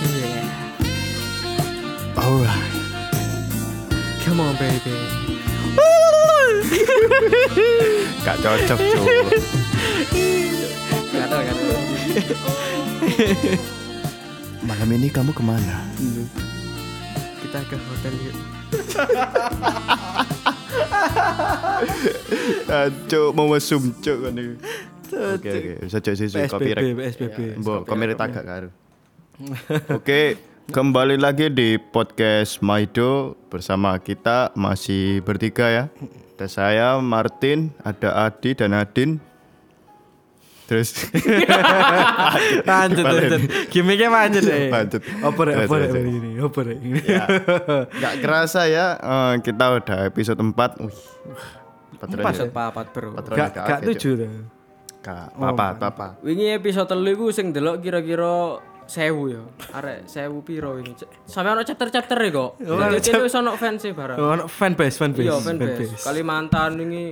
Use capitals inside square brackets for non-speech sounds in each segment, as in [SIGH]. Iya. Alright. Come on baby. Gak cocok cuy. Gak tau gak tau. Malam ini kamu kemana? Kita ke hotel [LAUGHS] yuk. Ah, Cuk mau mesum cuk kan iki. Oke oke, bisa cuk sisu PSBB, copyright. Ya, PSBB. Mbok kamera tagak karo. Oke, kembali lagi di podcast Maido bersama kita masih bertiga ya. Ada saya Martin, ada Adi dan Adin. Terus Lanjut, lanjut. Gimiknya lanjut eh. Iya, deh. Lanjut. Oper, Lanjut, oper, lanjut. ini, oper. ini. nggak kerasa ya eh, kita udah episode 4. Wih. Patron Pas ya? papat bro. Patron Gak, gak gak akeh, tujuh dah. Kak, papa, papa. Wingi episode telu iku sing delok kira-kira sewu ya. Arek sewu piro ini. Sampai ono chapter-chapter e kok. Iya, Jadi kene wis ono fans e barang. Oh, fan base, fan base. Iya, fan base. Kalimantan wingi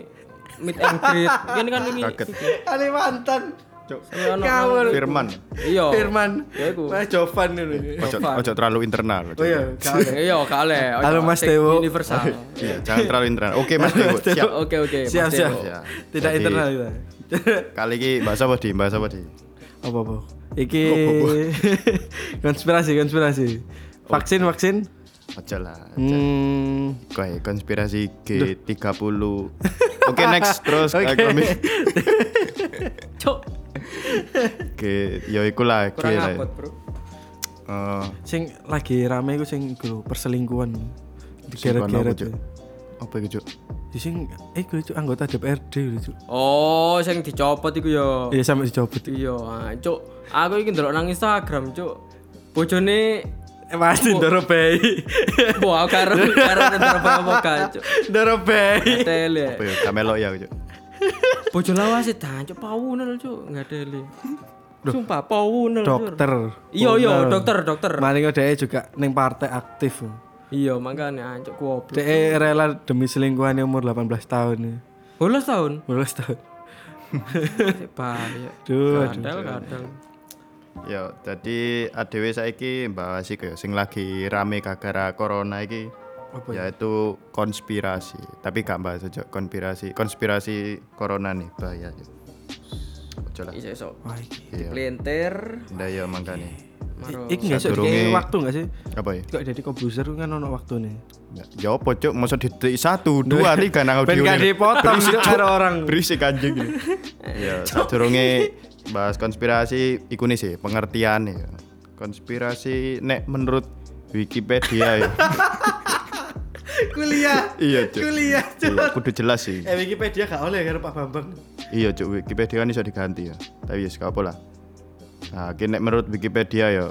meet and greet. Kene kan wingi. Kaget. Kalimantan. Oh. Sampai ono. Ngawur. Firman. Iya. Firman. Ya iku. Mas Jovan dulu. Ojo, ojo terlalu internal. ojo. Oh iya, kau deh. Iya, kale. Ojo, Halo, Mas sing Dewo. Universal. Iya, jangan terlalu internal. Oke, Mas Dewo, siap. Oke, oke. Mas Siap, siap. Dewo. Iya. Tidak Jadi- internal [LAUGHS] kita. Kali ini bahasa apa di? Bahasa apa di? Apa apa? Iki [LAUGHS] konspirasi, konspirasi. Vaksin, vaksin. Ojo lah. Hmm. Kayak konspirasi G30. Oke, next terus eh, kami Cuk, G yo iku lah, G kurang Iya, lah. abot, Bro. Eh, Sing lagi rame iku sing iku lho, perselingkuhan. singkon apa, Digeret-geret. Cuk? Apa iki, Cuk? Ya sing eh iku itu anggota DPRD lho, Cuk. Oh, sing dicopot iku ya. Ya sampe dicopot. Iya, ah, Cuk. Aku iki ndelok nang Instagram, Cuk. Bojone Eh pasti ndoro bayi. Wah, karo karo nendar apa kacau. [LAUGHS] Ndoro bayi. Apa Tele. ya? Kamelo ya, Cuk. Bojo lawas sih dancuk pawunel cuk, enggak tele. Sumpah pawunel. Cuk. Dokter. Iya iya, dokter dokter. Maling dhek juga ning partai aktif. lho. Iya, makanya ancuk goblok. Dhek rela demi selingkuhannya umur 18 tahun. ya. 12 tahun. [LAUGHS] 18 tahun. Bahaya. Duh, Kadal kadal. Yo, jadi ADW saiki bahas iki ya, sing lagi rame gara-gara corona iki yaitu konspirasi. Tapi gak bahas aja konspirasi. Konspirasi corona nih bahaya. Cuk. Ojo lah. Iso iso. Wah, iki. Iya. Plinter. Ndak ya mangkane. Maro. Iki nggak sih Sadurunge- kayak waktu nggak sih? Apa ya? Kok jadi komputer kan ono waktu nih. Ya, Ya apa cuk, masa di detik satu, dua, tiga nang audio gak ini. dipotong Berisik, Cuk, Cuk. karo orang. Berisik anjing ini. Ya, sadurunge bahas konspirasi iku nih sih, pengertian ya. Konspirasi nek menurut Wikipedia ya. Kuliah. Iya, Cuk. Kuliah, Cuk. Iya, kudu jelas sih. Eh Wikipedia gak oleh karo Pak Bambang. Iya, Cuk, Wikipedia kan iso diganti ya. Tapi ya apa lah. Nah, iki nek menurut Wikipedia ya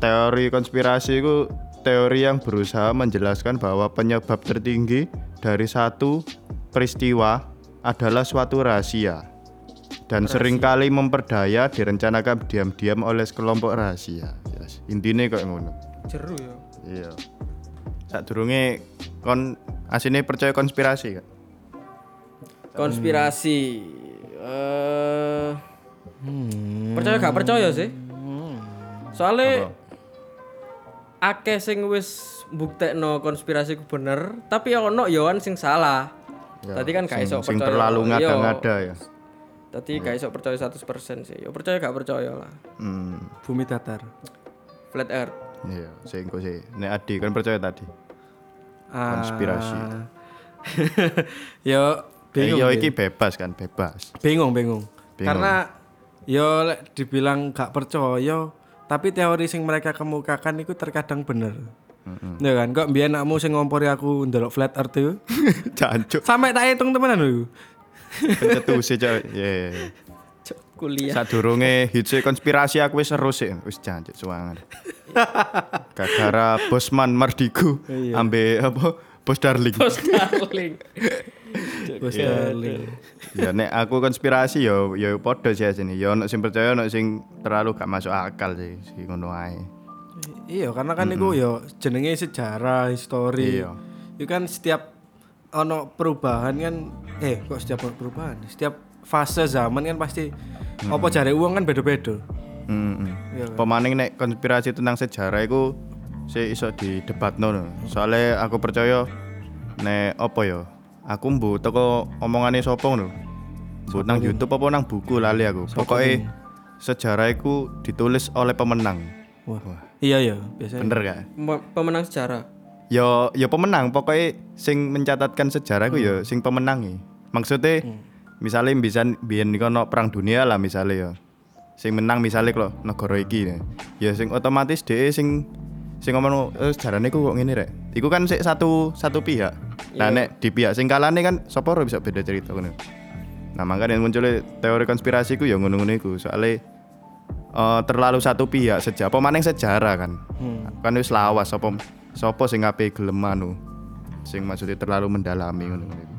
teori konspirasi itu teori yang berusaha menjelaskan bahwa penyebab tertinggi dari satu peristiwa adalah suatu rahasia dan seringkali memperdaya direncanakan diam-diam oleh sekelompok rahasia. Yes. Intinya kayak ngono. Jeru ya. Iya. Saat kon asine percaya konspirasi gak? Konspirasi. Eh. Percaya gak percaya sih? Soalnya akeh sing wis mbuktekno konspirasi ku bener, tapi ya ono ya kan sing salah. Ya, Tadi kan gak sing- iso sing percaya. terlalu Iya. ngada-ngada ya. Tadi gak iso percaya 100% sih. Ya percaya gak percaya lah. Hmm. Bumi datar. Flat earth. Iya, sing engko sih. Nek Adi kan percaya tadi. Ah. Konspirasi. [LAUGHS] yo Eh, bingung. Yo ya. iki bebas kan, [LAUGHS] bebas. Bingung, bingung. Bingung. Karena yo lek dibilang gak percaya, tapi teori sing mereka kemukakan itu terkadang bener. Ya kan, kok biar anakmu sing ngompori aku ndelok flat earth itu [LAUGHS] Jancuk Sampai tak hitung temenan lho. pencetus e cok. [LAUGHS] Iya. iya, iya. Cuk, [LAUGHS] kuliah. Sadurunge hitse konspirasi aku wis seru sih, wis jancuk [LAUGHS] suangan. Gara-gara Bosman Mardigu ambe apa? Bos Darling. Bos darling. Bos Darling. ya nek aku konspirasi yo yo padha sih sini. Yo ono sing percaya ono sing terlalu gak masuk akal sih si ngono ae. Iya, karena kan itu yo jenenge sejarah, histori. Iya. Itu kan setiap ono perubahan kan eh kok setiap ono perubahan, setiap fase zaman kan pasti apa jare uang kan beda-beda. Heeh. Pemaning nek konspirasi tentang sejarah iku sih iso di debat no. Soalnya aku percaya nek apa ya? Aku mbu teko omongane sopong lho. Mbu nang YouTube apa nang buku lali aku. Pokoke sejarah iku ditulis oleh pemenang. Wah. Iya ya, biasanya. Bener gak? Pem- Pemenang sejarah. Yo yo pemenang pokoknya sing mencatatkan sejarah ku yo sing pemenangi. Maksudnya misalnya bisa biyen niku ono perang dunia lah misalnya yo. Sing menang misalnya kalau negara iki ya. Ya sing otomatis dhewe sing sing ngomong eh, sejarahnya ku kok ngene rek. Iku kan sik satu satu pihak. Nah nek di pihak sing kalane kan sapa ora bisa beda cerita ngono. Nah makanya munculnya teori konspirasi ku ya ngono-ngono iku soalnya eh, terlalu satu pihak sejak apa maning sejarah kan. Kan wis lawas apa sapa sing ape gelem anu. Sing maksudnya terlalu mendalami ngono ngono iku.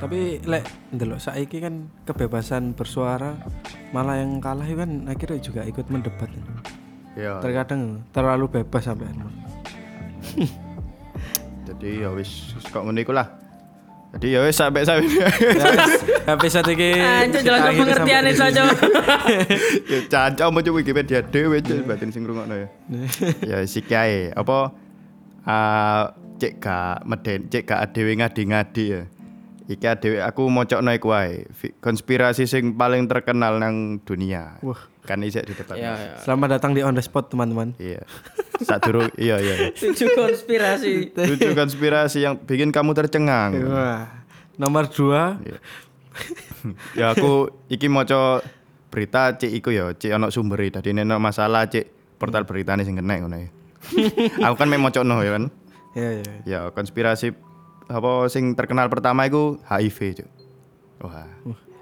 Tapi lek ndelok saiki kan kebebasan bersuara malah yang kalah itu kan akhirnya juga ikut mendebat. Ya. Terkadang terlalu bebas sampai [LAUGHS] Jadi ya wis wis kok ngono iku lah. Jadi ya wis sampai sampai Habis saat ini Anjir jelas akhirnya pengertian sampai di itu sini. aja. ya caca mau coba Wikipedia dhewe cek batin sing rungokno ya. Ya sik kae apa ah, cek gak meden cek gak dhewe ngadi-ngadi ya. Iki dhewe aku mocokno iku wae. Fi- Konspirasi sing paling terkenal nang dunia. Wah, kan isek di depan. Ya ya. Selamat datang di on the spot teman-teman. Iya. Sadurung iya iya. iya. [LAUGHS] Tujuh [LAUGHS] konspirasi. Tujuh konspirasi yang bikin kamu tercengang. Wah. Nomor dua ya aku iki moco berita cek iku ya, cek ono sumberi. Tadi nek masalah cek portal beritane sing kena ngono ya. aku kan mek mocokno ya kan. Ya ya. Ya konspirasi apa sing terkenal pertama iku HIV, Cuk. Wah.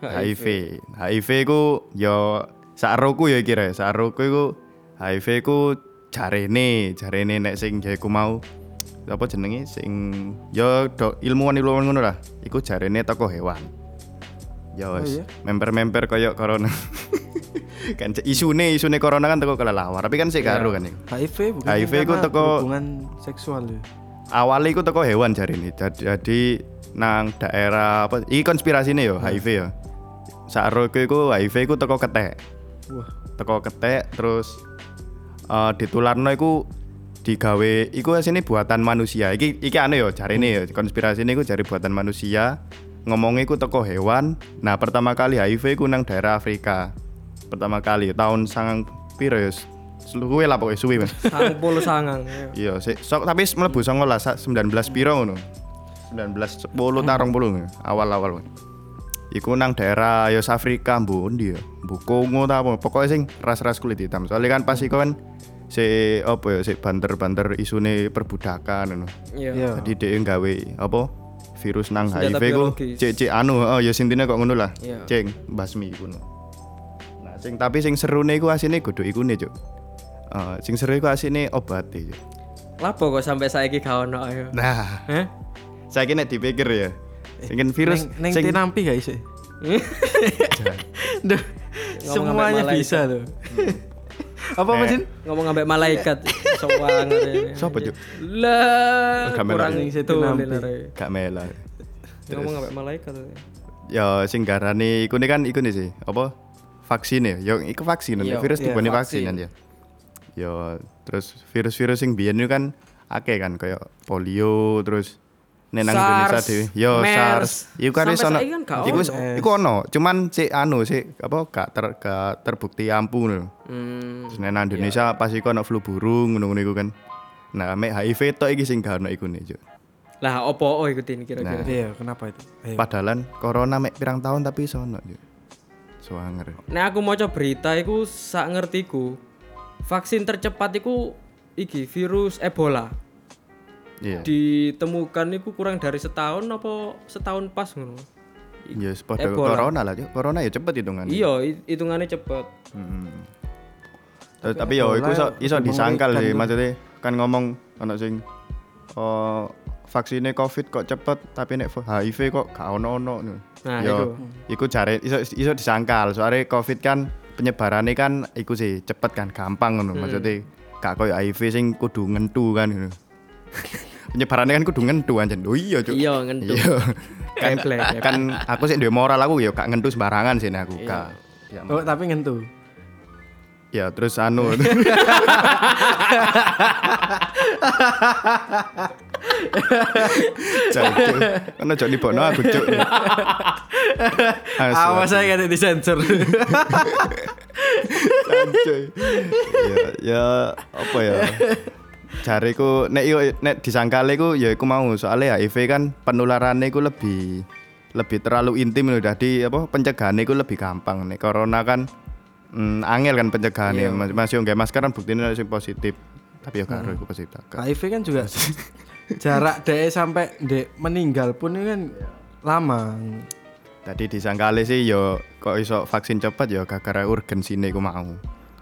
HIV. HIV ku ya sakroku ya kira, sakroku iku HIV ku jarene, jarene nek sing jaiku mau apa jenenge sing ya do, ilmuwan-ilmuwan ngono lah. Iku jarene toko hewan. Ya wis, memper-memper koyo corona. [LAUGHS] kan cek isune isune corona kan teko kelelawar, tapi kan sik karo kan iku. HIV bukan HIV ku karena teko- hubungan seksual ya. awalnya iku teko hewan jari ini jadi, jadi nang daerah apa iki konspirasi nih yo HIV yo saat iku HIV iku teko ketek Wah, teko ketek terus eh ditularno iku digawe iku sini buatan manusia iki iki aneh yo cari ini yo konspirasi ini iku cari buatan manusia ngomongnya iku teko hewan nah pertama kali HIV iku nang daerah Afrika pertama kali tahun sangang piro yo seluruh lah pokoknya suwi Mas. Sang puluh sangang. ya. Iya, sik. Sok tapi mlebu 19 sak 19 piro ngono. 19 10 ta 20 ngono, awal-awal. ngono. Iku nang daerah Yos Afrika mbu ndi ya? Mbu Kongo ta apa? Pokoke sing ras-ras kulit hitam. Soalnya kan pas iku kan si apa ya si banter-banter isune perbudakan ngono. Iya. iya. Jadi dhek gawe apa? virus nang Senjata HIV ku biologis. cek cek anu oh ya sintine kok ngono lah Iya. ceng basmi iku no. nah sing tapi sing serune iku asine godhok iku ne cuk Eh, sing seru iku asine obate cuk Lapo kok sampai saiki gak ono ayo. Nah, Heh? saya kira dipikir ya. Sing virus Neng, neng sing tinampi gak [LAUGHS] sih? Duh, semuanya sampai bisa tuh. Apa Eh. mesin? Ngomong ambek malaikat. Soang. Sopo, Cuk? Lah, Kamera. kurang Sing situ itu nampi. lelare. gak mela. Ngomong ambek malaikat. Ya sing garane iku ni kan iku nih sih. Apa? Vaksin ya. Yo iku vaksin Iya, virus iya, tiba vaksin kan ya. Yo terus virus-virus sing biyen itu kan akeh kan kayak polio terus nenang SARS, Indonesia dhewe. Yo MERS. SARS. Iku kan wis Sampai ono. saiki kan gak Iku wis- iku ono, cuman sik anu sik apa gak ter, gak terbukti ampuh lho. Hmm. Terus nek nang Indonesia pasti kok ono flu burung ngono-ngono iku kan. Nah, mek HIV tok iki sing gak ono iku nih, Cuk. Lah opo oh ikutin Nah. kira-kira. Iya, kenapa itu? Ayo. Padahal corona mek pirang tahun tapi iso ono, Cuk. Suwanger. Nek aku maca berita iku sak ngertiku vaksin tercepat iku iki virus Ebola. Iya. Ditemukan iku kurang dari setahun apa setahun pas ngono. Ya yes, padha corona lah, Cuk. Corona ya cepet hitungan. Iya, hi- hitungannya cepet. Terus Eh, tapi yo ya, iku iso iso disangkal sih maksudnya kan ngomong ono sing oh vaksinnya covid kok cepet tapi nek HIV kok gak ono ono Nah, yo, iku jare iso iso disangkal soalnya covid kan penyebarannya kan iku sih cepet kan gampang Hmm. ngono maksudnya gak koyo HIV sing kudu ngentu kan ngono. [LAUGHS] penyebarannya kan kudu ngentu anjen oh iya cuk Iya, ngentu. Iya. kan, Geblek, geblek. kan ya Iya. Iya, aku sih duwe moral aku yo gak ngentu sembarangan sih nek aku gak Oh, tapi ngentu. Ya terus anu Cuk, cuk. Kan ojo libokno aku cuk Asu, Awas saya kena [LAUGHS] disensor. Anjay. Kan, ya, ya apa ya? Jariku nek yo nek disangkale ku ya iku mau soalnya HIV kan penularannya ku lebih lebih terlalu intim loh dadi apa pencegahannya ku lebih gampang nek corona kan mm, angel kan pencegahannya Iya. mas masih nggak masker kan buktinya sing positif tapi ya Hmm. karo iku positif tak. HIV kan juga Iya, jarak dek sampai dek meninggal pun ini kan lama. Tadi disangkale sih yo kok iso vaksin cepat yo gara-gara urgensine ku mau.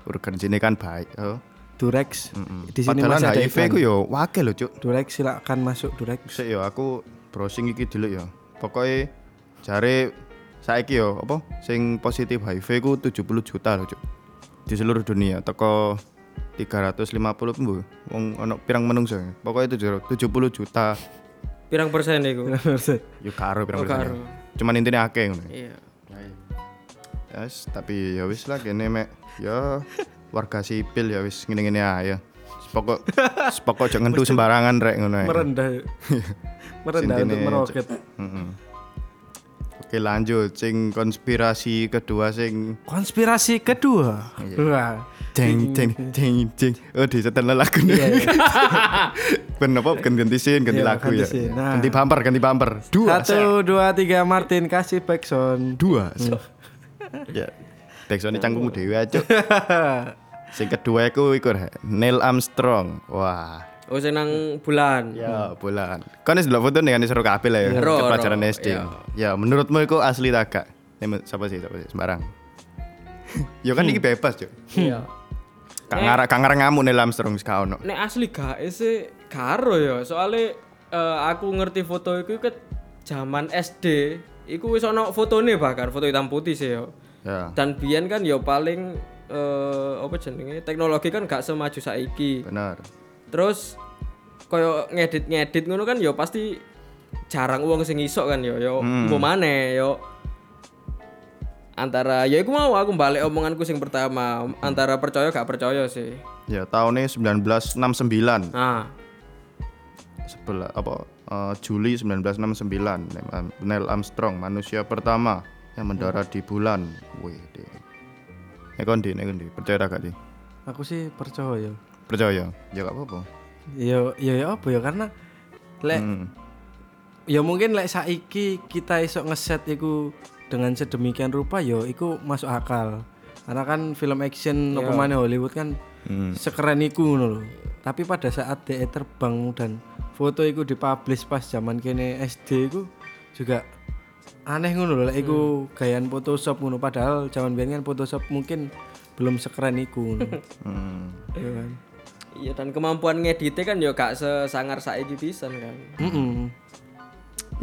Urgensine kan baik. Oh. Durex di sini Padahal masih ada HIV ku iklan. yo wakil loh cuk. Durex silakan masuk Durex. Sik yo aku browsing iki dulu yo. Pokoke jare saiki yo apa sing positif HIV ku 70 juta loh, Cuk. Di seluruh dunia teko 350 mbu. Wong ono pirang menungso. ya. Pokoke tujuh- 70 juta Pirang persen iku. [LAUGHS] yo karo pirang Oh, karo. persen. Cuman intine akeh ngono. Iya. Yes, tapi ya wis lah gini mek. Ya warga sipil ya wis ngene-ngene ae. Sepokok sepokok jangan ngentu sembarangan rek ngono ae. Merendah. Merendah Sintine, untuk meroket. Mm-mm. Oke lanjut, sing konspirasi kedua sing Konspirasi kedua. Wah. jeng jeng jeng jeng. Oh di setel lagu nih. [LAUGHS] Ben apa bukan ganti scene, ganti Iya, lagu ganti ya. scene. Nah. Ganti bumper, ganti bumper. Dua, Satu, dua, tiga, Martin kasih backsound. dua. ya. Backsoundnya canggung dewe aja. Sing kedua aku ikut Neil Armstrong. Wah. Oh sing nang bulan. Ya, bulan. Kan wis ndelok foto nih kan seru kabeh lah ya. Hmm. Iya, ke Ro, ro, Iya. pelajaran SD. Ya, menurutmu iku asli ta gak? Nih, men- Sapa sih, sapa sih sembarang. ya kan iki bebas, Cuk. Hmm. Iya. Eh. Kang ngarak kang ngarak ngamuk nih Armstrong wis gak ono. Nek asli gak sih karo ya. Soale eh, aku ngerti foto iku ke zaman SD. Iku wis ono fotone bahkan foto hitam putih sih ya. Ya, Dan biyen kan ya paling eh, apa jenenge teknologi kan gak semaju saiki. benar. Terus koyo ngedit-ngedit ngono kan ya pasti jarang uang sing iso kan ya ya mau maneh ya antara ya iku mau aku balik omonganku sing pertama antara percaya gak percaya sih. Ya, tahunnya 1969. Nah, Sebelah apa eh, Juli 1969 Neil Am- Neil Armstrong manusia pertama yang Hmm. mendarat di bulan. Wih, deh. Nek kondi, nek kondi. Percaya ta gak sih? Aku sih percaya. Percaya. Ya gak apa-apa. Yo, yo, yo apa ya karena lek Hmm. ya mungkin lek saiki kita isok ngeset iku dengan sedemikian rupa yo iku masuk akal karena kan film action apa maneh Hollywood kan sekeren iku ngono lho tapi pada saat DE terbang dan foto iku dipublish pas zaman kene SD iku juga aneh ngono lho lek iku gayaan Photoshop ngono padahal zaman biyen kan Photoshop mungkin belum sekeren iku ngono. Hmm. Iya kan Iya dan kemampuan ngeditnya kan ya gak sesangar saiki pisan kan. Mm-mm.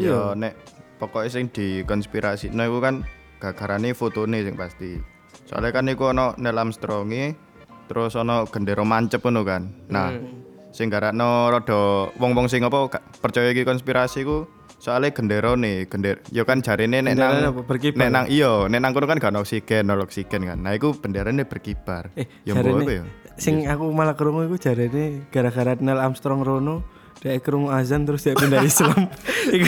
Iya. Ya nek pokoknya sing dikonspirasi nah iku kan gagarane fotone sing pasti. Soalnya kan iku ono Neil Armstronge terus ono gendera mancep ngono kan. Nah, Hmm. sing garakno rada wong-wong sing apa gak percaya iki konspirasi ku soalnya gendera nih gender ya kan jarine nek nang Benderanya apa? Berkibar. nek nang iya nek nang kono kan gak ono oksigen nol oksigen kan nah iku benderane berkibar Eh, ya jarene- mbok apa ya Sing aku malah krungu iku jarene gara-gara Neil Armstrong rono dia krungu azan terus dia [LAUGHS] pindah Islam. iku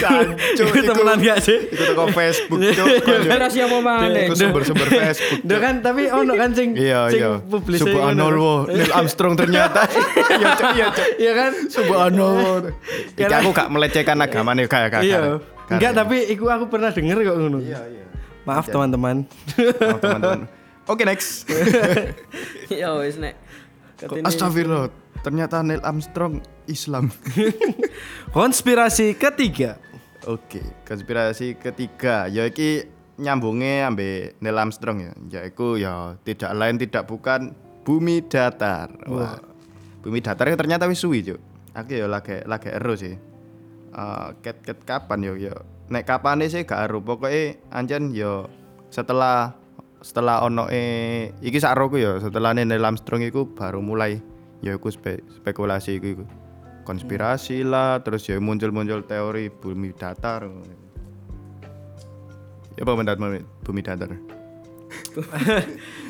Cuk, iku temenan gak sih? iku teko [LAUGHS] Facebook cuk kon yo. Konspirasi apa maneh? iku [LAUGHS] sumber-sumber Facebook Iya, Duh kan tapi ono kan sing Iya sing iya. publisnya ngono. Subhanallah, Neil Armstrong ternyata. Iya cok, iya cok. [LAUGHS] Iya kan? [LAUGHS] Subhanallah. Iki aku gak melecehkan agama nih kayak Iya. kakak. Enggak tapi iku aku pernah denger kok ngono. Iya iya. Maaf teman-teman. Maaf, Oh, teman-teman. Oke next. Ya wis nek. Ketini- Astagfirullah. Ternyata Neil Armstrong Islam. Konspirasi ketiga. Oke, konspirasi ketiga ya iki nyambungnya ambek Neil Armstrong ya. Yaiku ya tidak lain tidak bukan bumi datar. Wah. Bumi datar ya ternyata wis suwi, Cuk. Aku ya lagi lagi ero sih. Eh, ket ket kapan yo yo. Nek kapane sih gak ero. Pokoke anjen yo setelah setelah ono e iki sakroku ya setelah Neil Armstrong iku baru mulai ya iku spe- spekulasi iku, iku. konspirasi lah terus ya muncul-muncul teori bumi datar ya apa pendapat bumi datar itu.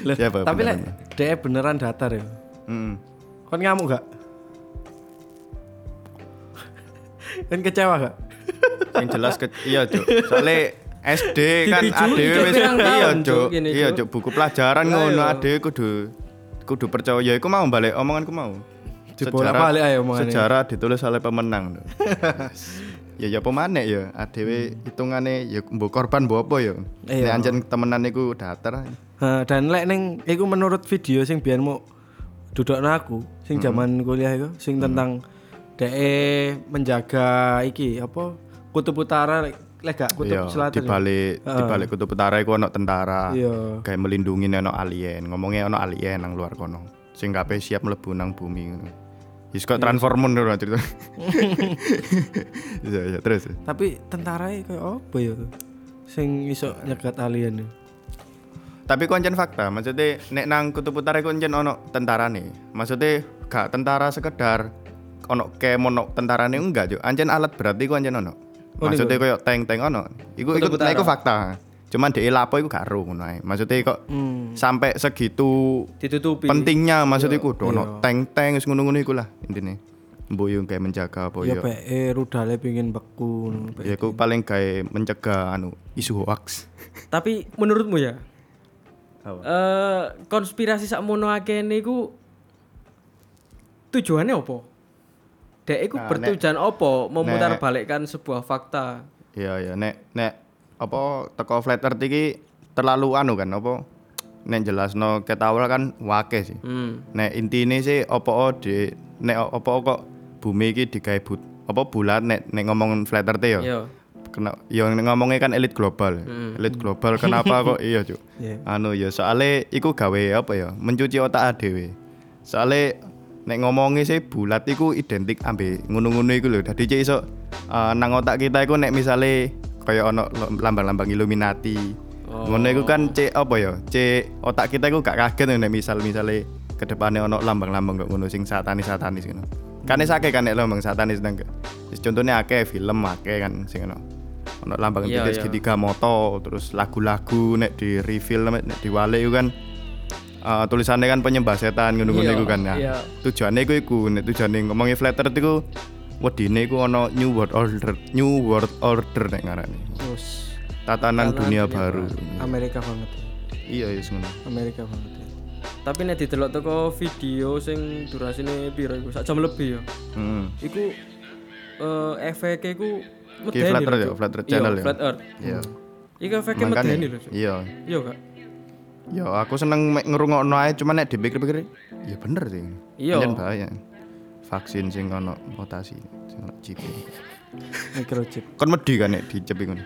Loh, Siapa tapi lek beneran? dia beneran datar ya. Mm. Kon ngamuk [LAUGHS] gak? Kan kecewa gak? Yang jelas ke iya cuk. Soale SD kan Dipicu, adewe dipicu wis pirang iya tahun, Cuk, cuk. gini, Iya Cuk. cuk buku pelajaran Lah, ngono iya. adewe kudu kudu percaya ya iku mau balik omonganku mau. Dibolak-balik ae omongane. Sejarah ditulis oleh [LAUGHS] pemenang. Cuk. Yes. Ya ya pemanek ya adewe hitungane ya mbok korban mbok apa ya. Nek Hmm. Iya. anjen temenan niku datar. Eh, dan lek ning iku menurut video sing biyen mau dudukno aku sing zaman kuliah iku sing tentang DE menjaga iki apa kutub utara lek- lek gak kutub Iya, selatan. ya. dibalik dibalik kutub utara iku ono tentara. Iya. Kayak melindungi ono alien, ngomongnya ono alien nang luar kono. Sing kabeh siap mlebu nang bumi ngono. Wis kok transformer ngono cerita. Iya, iya, terus. Tapi tentara kayak apa ya? Sing iso nyegat alien. ya. Tapi koncen fakta, maksudnya nek nang kutub utara iku koncen ono tentara nih. Maksudnya gak tentara sekedar ono kemo ono tentara nih enggak juga. Ancen alat berat iku ancen ono. Oh, nih, Maksudnya koyo tank-tank ono. Iku iku nah, Kutub utara. iku fakta. Cuman di lapo iku gak ero ngono ae. Maksudnya kok Hmm. sampai segitu Ditutupi. pentingnya iya, maksudnya iku ono tank-tank wis ngono-ngono iku lah intine. Mbok yo kayak menjaga apa Ya Iya, yo. PE rudale pingin beku. ngono. Ya iku paling kayak mencegah anu isu hoax. Tapi menurutmu ya? Apa? Eh konspirasi sakmono akeh niku tujuannya apa? Dek Nah, iku bertujuan apa memutarbalikkan sebuah fakta? Iya ya nek nek apa teko flat earth iki terlalu anu kan apa nek jelasno ketawal kan wake sih. Hmm. Nek intine sih apa di nek apa kok bumi iki digawe but apa bulat nek nek ngomong flat earth e ya. Yo. Kena yang ngomongnya kan elit global. Elit global kenapa kok iya, Cuk? Iya. Anu ya soalnya iku gawe apa ya? Mencuci otak dhewe. Soalnya nek ngomongnya sih bulat iku identik ambe ngono-ngono iku lho. Dadi cek iso eh, nang otak kita iku nek misale kaya ono lo- lambang-lambang Illuminati. Ngono iku kan cek apa ya? Cek otak kita iku gak kaget nek misal-misale kedepannya ono lambang-lambang kok ngono sing satanis-satanis ngono. Kan akeh kan nek lambang satanis nang. Contohnya akeh film akeh kan sing ngono. ono lambang Iya, titik iya. segitiga moto terus lagu-lagu nek di reveal nek nek diwalek iku kan eh, tulisannya kan penyembah setan ngono-ngono Iya, iku kan ya. iya. Tujuane iku iku nek tujuane ngomongi flatter iku wedine iku ono new world order, new world order nek ngarane. Terus Tatanan dunia, baru. Amerika banget. ya. Iya ya ngono. Amerika banget. ya. Tapi nek didelok teko video sing durasine piro iku? Sak jam lebih ya. Hmm. Iku eh efeknya iku Ki flat earth ya, flat earth channel ya. ya. Flat earth. Iya. Iku efeknya Makanya. medeni lho. Cuk. Iya. Iya, Kak. Ya aku seneng mek ngrungokno ae cuman nek dipikir-pikir ya bener sih. Iya. Pancen bahaya. Vaksin sing ono mutasi sing ono chip. Microchip. kon wedi kan nek dicep iku.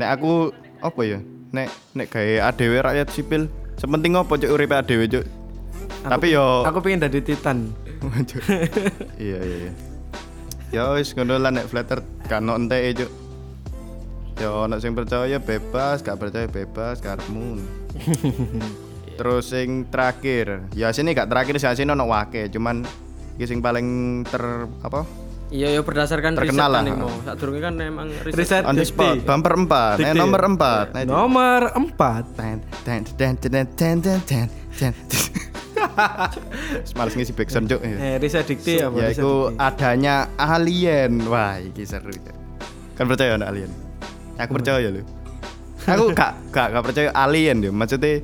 Nek aku apa ya? Nek nek gawe ADW rakyat sipil, sepenting apa cuk uripe ADW cuk. Tapi yo Aku pengen dari Titan. Cuk. Iya iya iya. Ya wis ngono lah nek flatter gak ono enteke cuk. Ya ono sing percaya bebas, gak percaya bebas karepmu. Terus sing terakhir, ya sini gak terakhir sih sini ono wake, cuman iki sing paling ter apa? Iya, ya berdasarkan Terkenal lah. riset kan Imo. Sadurunge kan emang riset Riset On the spot, dikti. bumper 4, eh, Dikti. nomor 4. Nah, Nomor 4 ten ten ten ten ten ten ten ten [LAUGHS] Males ngisi backsound cuk Eh, ya Risa Dikti apa? Risa yaitu Dikti? adanya alien wah ini seru Cuk. kan percaya anak alien aku percaya lu [LAUGHS] aku gak gak gak percaya alien ya maksudnya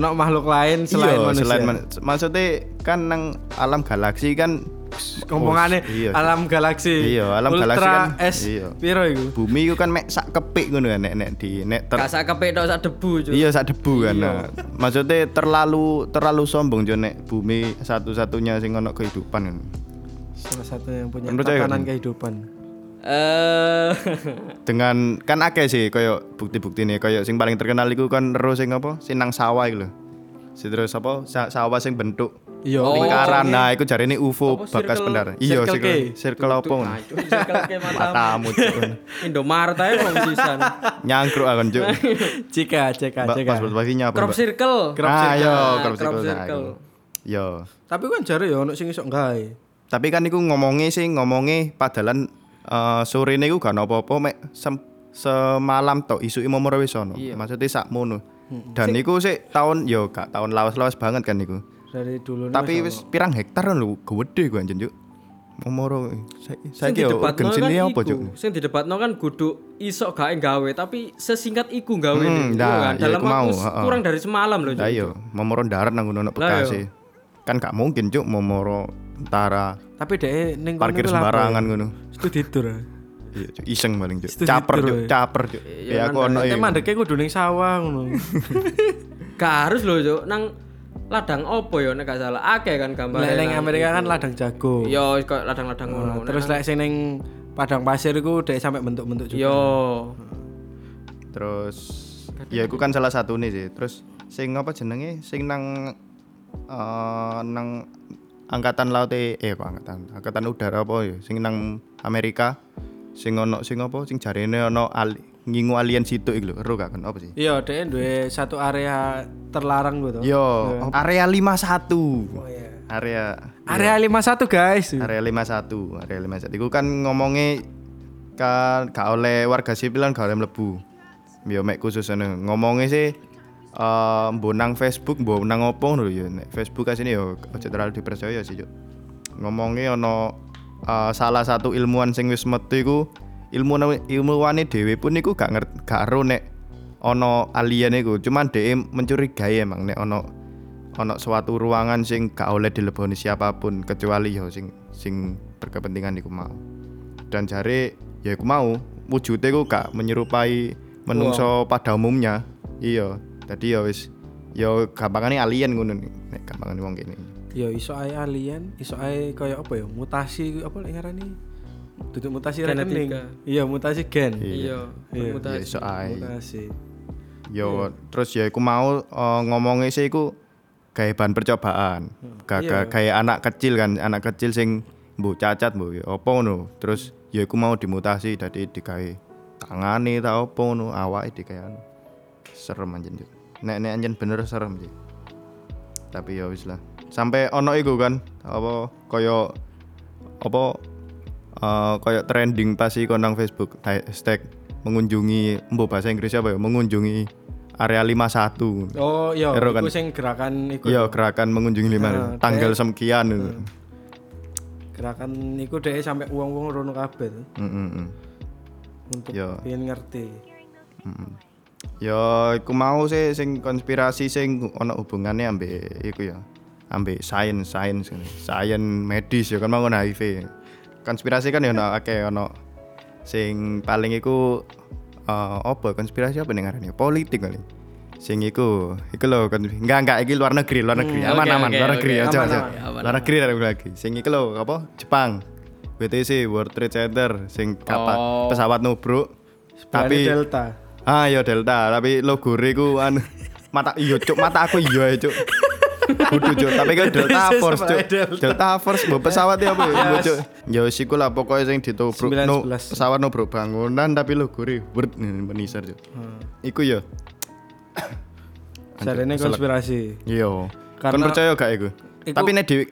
Ono makhluk lain selain iya, manusia. selain man- maksudnya kan nang alam galaksi kan Kompongannya Oh, iya, Cuk. alam galaksi. Iya, alam Ultra galaksi kan- S. iya. Piro iku? bumi itu kan mek sak kepik ngono kan nek nek di nek ter- Gak sak kepek tok sak debu, Cuk. Iya sak debu kan. Nah, maksudnya terlalu terlalu sombong jo nek bumi satu-satunya sing ono kehidupan. kan. Salah satu yang punya Kan percaya tatanan kan? kehidupan. Eh [LAUGHS] Dengan kan akeh sih koyo bukti-bukti nih koyo sing paling terkenal iku kan ero sing apa? Sing nang sawah iku lho. Si terus apa? Sa- sawah sing bentuk Iya, [LAUGHS] Oh, lingkaran. Nah, iku jarine UFO Apa, bakas circle- pendar. Iya, circle circle, circle apa? ngono? aduh, nah, circle ke matamu. Matamu cuk. Indomaret ae wong sisan. Nyangkruk aku cuk. Cika, cika, Mbak cika. pas paginya apa? Crop Mbak? circle. Ah, yo, crop Crop circle. nah, circle. iku. Yo. Tapi kan jare ya ono sing iso gawe. Tapi kan iku ngomongnya sih ngomongnya padahal eh sore ini iku gak apa-apa mek sem- semalam tok isu mau wis ono. Maksudnya sakmono. Dan niku sih tahun yo gak tahun lawas-lawas banget kan niku. dari dulu Tapi wis pirang hektar lho gede ku anjen juk. Momoro saiki saiki yo didebatno urgensi kan apa iku. juk? Sing didebatno kan kudu isok gawe gawe tapi sesingkat iku gawe. Hmm, Iku nah, kan. ya dalam iku mau, waktu s- heeh. kurang dari semalam loh. Lah yo momoro ndarat nang ngono Bekasi. Kan gak mungkin juk momoro Utara tapi deh ning kono iku parkir lapo? sembarangan ngono. Itu tidur. ya. Iya, Cuk. iseng paling Cuk. Setuju, Caper Bro, Cuk, ya. caper Cuk. Ya aku ono Nek iki. mandeke kudu ning sawah [LAUGHS] ngono. Gak harus loh Cuk. nang ladang opo yo nek gak salah. Akeh kan Lek gambarnya. ning Amerika Iya. kan ladang jago. Yo kok Ah, ladang-ladang ngono. Nah, terus lek sing ning padang pasir iku dek sampe bentuk-bentuk juga. Iya. Yo. Terus ya aku kan salah satu nih sih. Terus sing apa jenenge sing nang eh, nang angkatan laut eh eh, kok angkatan angkatan udara apa ya sing nang Amerika sing ono sing apa sing jarene ono ali, ngingu alien situ iku lho ero gak kan apa sih? Iya, dek duwe satu area terlarang gitu. Yo, area 51. Area Area 51, guys. Area 51, area 51. Iku kan ngomongnya kan gak oleh warga sipil kan gak oleh mlebu. Ya mek khusus ngono. Ngomongnya sih eh mbok nang Facebook, mbok nang opo ngono lho ya. Nek Facebook asine ya aja terlalu dipercaya sih, Cuk. Ngomongnya ono eh, salah satu ilmuwan sing wis metu iku ilmu ilmuwane dhewe pun iku gak ngerti gak ero nek ono alien iku. Cuman dhewe mencurigai emang nek ono ono suatu ruangan sing gak oleh dileboni siapapun kecuali yo sing sing berkepentingan iku mau. Dan jare ya iku mau wujudnya ku gak menyerupai menungso pada umumnya. Iya, tadi ya wis yo gampangane alien ngono nih. nek gampangane wong kene. Yo iso ae alien, iso ae kaya apa ya? Mutasi apa lek ngarani? Duduk mutasi rekening. Genetika. Iya, mutasi gen. Yo. Iya. Ya Mutasi. iso ae. Mutasi. Yo terus ya iku mau eh, ngomongnya sih iku gawe bahan percobaan. Ga- ga- Kayak anak kecil kan, anak kecil sing mbok cacat mbok ya apa ngono. Terus ya iku mau dimutasi dadi digawe tangane ta apa ngono, awake digawe anu. Serem anjen. Cuk. Nek nek anjen bener serem sih. Tapi ya wis lah. Sampai ono iku kan apa kaya apa eh kaya trending pas iku nang Facebook hashtag mengunjungi mbok bahasa Inggris apa ya mengunjungi area 51 Oh, iya, Ero iku kan? sing gerakan iku. Iya gerakan mengunjungi lima Nah, tanggal semkian itu. Gerakan iku dek sampe wong-wong rono kabeh tuh, Mm, mm, mm. untuk Yo. pengen ngerti. Ya iku mau sih sing konspirasi sing ono hubungannya ambek iku ya. Ambek sains sains ngene. sains medis ya kan mau ngono HIV. Konspirasi kan ya ono akeh ono sing paling iku eh apa konspirasi apa nih ngarannya politik kali. Sing iku iku lho kon enggak enggak iki luar negeri luar negeri aman Hmm, oke, aman oke, luar oke. negeri aja Aman, aja. aman, aman, Luar negeri luar negeri. Sing iku lho apa Jepang. WTC World Trade Center sing kapal Oh. pesawat nubruk Berani tapi Delta. Ah ya Delta, tapi logo ku anu mata iya cuk, mata aku iya cuk. Kudu cuk, tapi kan Delta Persis Force Iya, sama cuk. Delta. Iya, Delta Force mbok pesawat ya apa ya mbok, cuk. Ya wis iku lah pokoke sing ditobruk no, 911. pesawat nubruk bangunan tapi logo e word menisar cuk. Hmm. Iku ya. Jarene konspirasi. Iya. Kan Karena- percaya gak iku? Iku- Tapi nek dhewe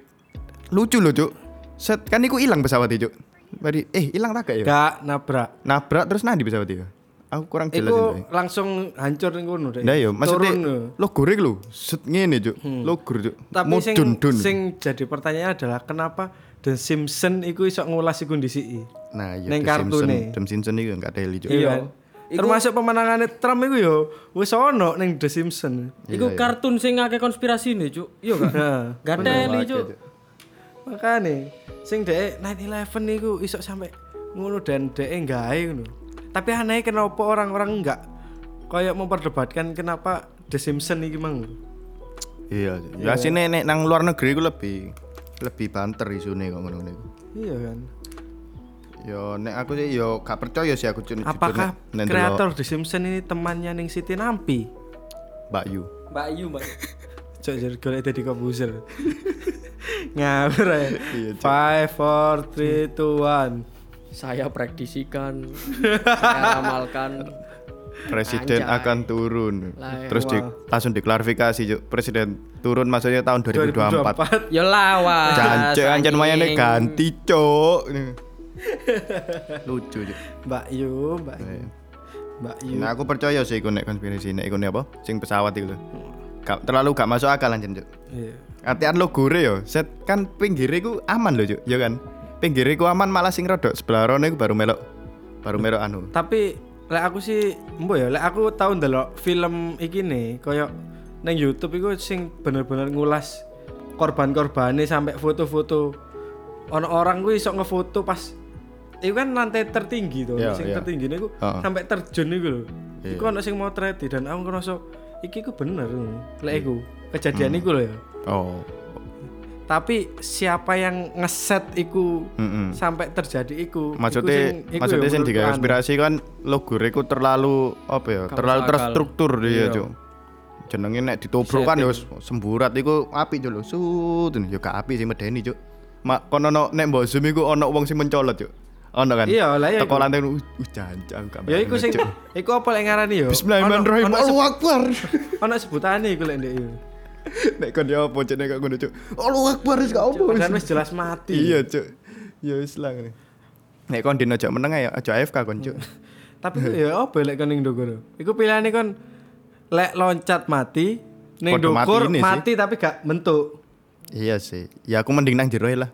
lucu lho cuk. Set kan iku ilang pesawat e cuk. Mari eh ilang tak gak ya? Gak nabrak. Nabrak terus nang ndi pesawat e? Aku kurang jelas ini. Iku langsung hancur ning kono dek. Nah yo, maksudnya Turun, yo. lo goreng lo, set ngene cuk, lo goreng cuk, Tapi Mau sing dun dun. sing jadi pertanyaan adalah kenapa The Simpson iku iso ngulas iku ndisiki. nah yo, neng Tim kartune. Simpson- Tim Simpson itu nggak teli cuk. Iya. kan? Termasuk pemenangannya Trump iku yo wis ono ning The Simpson. Iya, Iku kartun sing akeh konspirasi nih, Cuk. Iya [LAUGHS] gak? Nah, Gak teli, Cuk. makane sing dek 911 iku iso sampe ngono dan dek gawe ngono. Tapi aneh kenapa orang-orang enggak kayak memperdebatkan kenapa The Simpson iki mang. Iya, Cuk. ya sih nenek nang luar negeri gue lebih lebih banter isune kok ngono iku. Iya kan. Yo nek aku sih yo gak percaya sih aku cun Apakah nek- nek ndelok kreator The Simpson ini temannya ning Siti Nampi? Mbak Yu. Mbak Yu, Mbak. Cok jadi golek tadi komposer. Ngawur ya. 5 4 3 2 Saya prediksikan, saya ramalkan. Presiden Anjay. akan turun. Lah, Terus di, langsung diklarifikasi cuk, presiden turun maksudnya tahun 2024. 1. Ya lawas. Jancuk anjen anjing. mayane ganti cuk. Lucu cuk. Mbak Yu, Mbak Yu. Mbak Yu. Nah, aku percaya sih iku nek konspirasi nek iku nek apa? Sing pesawat iku lho. Gak- terlalu gak masuk akal anjen, Cuk. Iya. Artian lo gore yo. Set kan pinggire ku aman lho, Cuk. Ya kan? Pinggire ku aman malah sing rodok sebelah rono iku baru melok. Baru melok anu. Tapi lek aku sih mbo ya, lek aku tau ndelok film iki nih, koyo neng YouTube iku sing bener-bener ngulas korban-korbannya sampai foto-foto. Ono orang gue iso ngefoto pas itu kan lantai tertinggi tuh, Iya, sing iya. tertinggi nih Heeh. sampai terjun iku lho. Iku ono sing motreti dan aku ngerasa iki ku bener lek iku Hmm. kejadian iku lho ya. Oh. Tapi siapa yang ngeset iku sampai terjadi iku? iku Maksudnya sing- iku ya maksudnya sing menurutku digawe aneh. konspirasi kan lo gore ku terlalu apa ya? terlalu terstruktur Iya. dia, Cuk. Jenenge nek ditobrok kan yo semburat iku api Cuk lho. Sut, yo gak api sih medeni, Cuk. Mak kono no- nek mbok zoom iku ono wong sing mencolot, Cuk. Ono kan? Iya, lah, iya, Teko iku. lantai uh uh, jancang gak Ya iku medeni, sing [LAUGHS] Cuk. iku apa lek ngarani yo? Ono- Bismillahirrahmanirrahim. ono Allahu Akbar. [LAUGHS] se- Ono sebutane iku lek ndek iku. Nek kon yo apa cek nek gak ngono cuk. Allahu Akbar wis gak apa. Padahal wis jelas mati. Iya cuk. Ya wis lah ngene. Nek kon dino aja meneng ya aja AFK kon [LAUGHS] cuk. Tapi ku- ya apa lek kon ning ndokor? Iku pilihane kon lek loncat mati ning Podo mati ndokor ini mati, sih. tapi gak mentuk. Iya sih. Ya aku mending nang jero ae lah.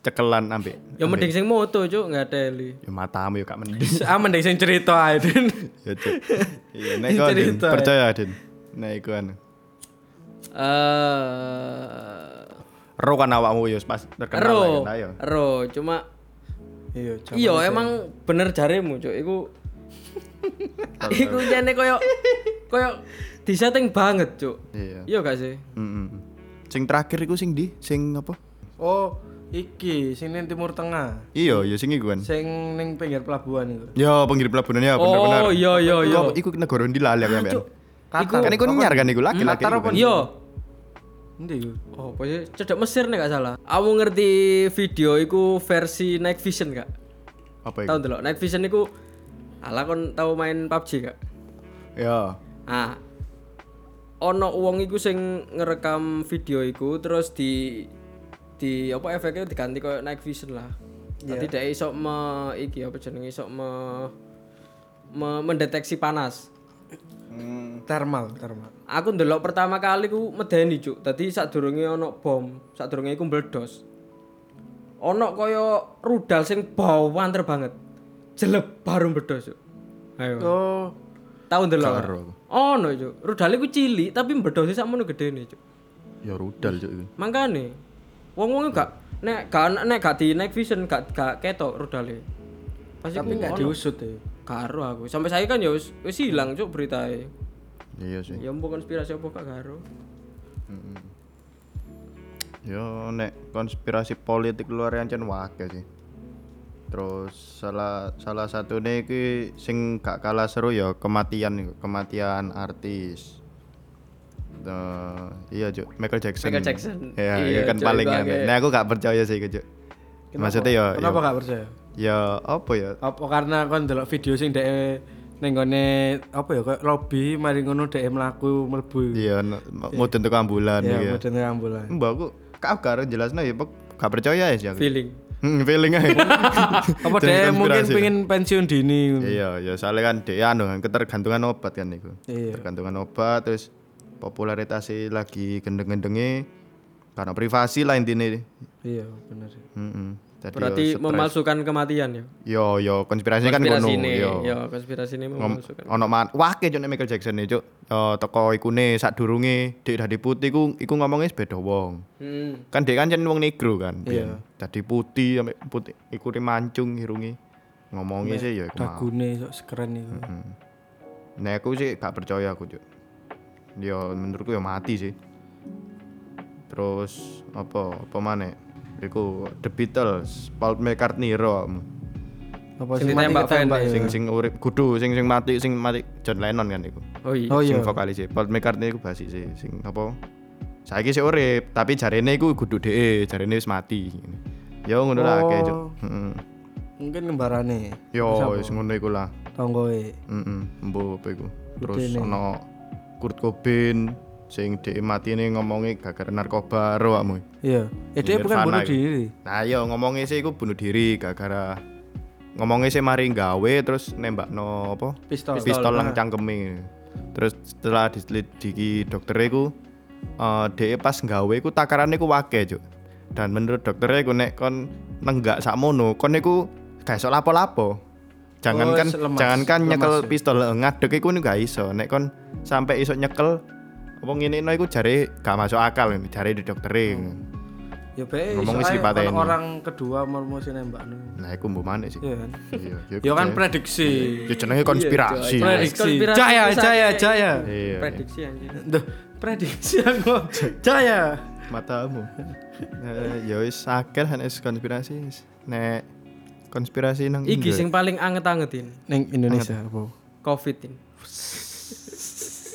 Cekelan ambek. Ya mending sing moto cuk nggak teli. Eh, Ya matamu ya gak mending. [LAUGHS] Ah mending sing cerita ae. Din. Ya [LAUGHS] cuk. Iya nek kon Din, Cerita, ya. percaya Din. Nek iku anu. Eh Ro kan awakmu yo pas terkenal ero, lah, kan, ayo. ero cuma Iya, Cok. iya emang bener jarimu cuk. Iku Iku jane koyo koyo disetting banget cuk. Iya. Iya gak sih? Mm-mm. Sing terakhir iku sing di sing apa? Oh, iki sing ning timur tengah. Iya, ya sing iku kan. Sing ning pinggir pelabuhan iku. Ya pinggir pelabuhan ya bener-bener. Oh iya iya iya. Kok iku negara ndi lali aku sampean. Kata. Kan iku nyar kan iku laki-laki. Qatar iku apa kan. Iya. Endi iku? Oh, apa sih? Cedek Mesir nih gak salah. Aku ngerti video iku versi night vision kak. Apa iku? Tahu delok night vision iku ala kon tahu main PUBG kak. Ya. Ah. Ono wong iku sing ngerekam video iku terus di di apa efeknya diganti koyo night vision lah. Nanti dia iso me iki apa jenenge iso me, me- mendeteksi panas. Hmm. Thermal, thermal. Aku ndelok pertama kali ku medeni cuk. Tadi sadurunge ono bom, sadurunge iku mbledos. Ono koyo rudal sing bawanter banget. Jeleb baru mbledos cuk. Ayo. Oh, Tahu ndelok. Ono cuk. Rudale ku cilik tapi mbedose sakmono gedene cuk. Ya rudal cuk iku. Mangkane wong-wong gak nek gak nek gak di night vision gak gak ketok rudale. Pasti tapi ku gak ono. diusut ya. Karo aku. Sampai saya kan ya wis wis ilang cuk Eh. beritae. Iya sih. Ya mbok konspirasi apa gak karo. Yo nek konspirasi politik luar ancen wae sih. Terus salah salah satu nih ki sing gak kalah seru ya kematian iku. kematian artis. Eh, iya cuk Michael Jackson. Michael Jackson. Iya, Iya, iya kan Cuk, paling iku aneh. akeh. Nek aku gak percaya sih iku cuk. Maksudnya ya Kenapa gak percaya? ya apa ya? apa karena kon delok video sing dek ning gone apa ya kayak lobby mari ngono dek mlaku mlebu Iya n- mudun teko ambulan Iya, ya iki ya. modene [LAUGHS] ambulan Mbak aku kau karo jelasno ya pek- gak percaya ya sih aku. Feeling. Hmm, feeling aja. [LAUGHS] apa Jadi dek mungkin konspirasi. pengen pensiun dini Iya, ya soalnya kan dia anu kan ketergantungan obat kan itu. Iya. Ketergantungan obat terus popularitasnya lagi gendeng-gendenge karena privasi lah intine. iya bener Heeh. Jadi Berarti memalsukan kematian ya. yo yo konspirasi kan Konspirasi ngono. ini. Yo. Ya konspirasi ini memalsukan. Ono man wake cuk nek Michael Jackson iki cuk. Yo teko ikune sadurunge dhek dadi putih ku iku ngomongnya beda wong. Hmm. Kan dhek kan jen wong negro kan. Iya. Dadi putih sampe putih iku mancung irunge. Ngomongnya Iya. sih ya iku mau. dagune sok sekeren iku Nah aku sih gak percaya aku cuk. Ya menurutku ya mati sih. Terus apa apa mana? Iku The Beatles, Paul McCartney ro kamu. apa sih Sing mati ditembak ketembak fan, ya? Sing sing urip kudu sing sing mati sing mati John Lennon kan iku. Oh iya. oh iya Sing vokalis sih. Paul McCartney iku basis sih sing apa? Saiki sih urip, tapi jarene iku kudu dhek, jarene wis mati. Ya ngono lah akeh cuk. Oh. Heeh. mungkin ngembarane Yo wis ngono iku lah. tonggoe Heeh, mbok apa iku. Terus Gedene. ono Kurt Cobain sing dhek mati ini ngomongnya gagal narkoba ro awakmu. iya eh dia bukan bunuh Nirvana gitu. iku. diri Nah, yo ngomongnya sih iku bunuh diri gara-gara ngomongnya sih mari gawe terus nembak no apa Pistol. pistol nang cangkeme terus setelah diselidiki dokternya ku eh dia pas gawe ku takarannya ku wake cuk dan menurut dokternya ku nek kon nenggak sakmono kon niku gak iso lapo-lapo jangankan Oh, lemas. jangankan Lemas, nyekel ya. pistol eh, ngadeg iku niku gak iso nek kon sampai iso nyekel apa ngene no iku jare gak masuk akal jare di dokternya Hmm. Ya bae Ngomongnya soalnya siripate orang- ini. orang kedua mau mau sih nembak no. nah iku mbok manik sih Iya kan? Iya, Ya kan iya. prediksi. Ya jenenge konspirasi. Iya, Coy. Prediksi. Konspirasi Jaya bisa jaya ini. jaya. Iya. prediksi anjir Duh, prediksi aku. Jaya. Matamu. Eh, ya wis akeh nek konspirasi. wis. Nek konspirasi nang iki Indo. sing paling anget-angetin Ning Indonesia apa? covid ini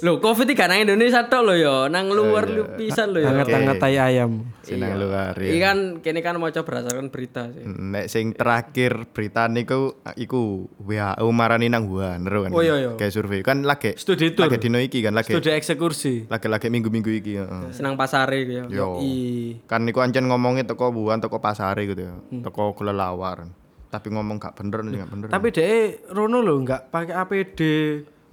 Loh, covid iki gak nang Indonesia tok lho ya, nang luar iya. lu pisan lho ya. Hangat-hangat tai ayam. Sing nang luar. Iya Iki ya. kan kene kan maca berdasarkan berita sih. Nek sing terakhir berita niku iku WHO marani nang Wuhan ero kan. Oh, iya, iya. Kayak survei kan lagi Studi tour. lagi dino iki kan lagi Studi eksekusi. lagi-lagi minggu-minggu iki heeh. Senang pasare Iya, iki ya. Yo. I Kan niku ancen ngomongnya teko Wuhan, teko pasare gitu ya. Hmm. Teko kelelawar. Tapi ngomong gak bener nih, gak bener. Tapi deh Rono lo nggak pakai APD,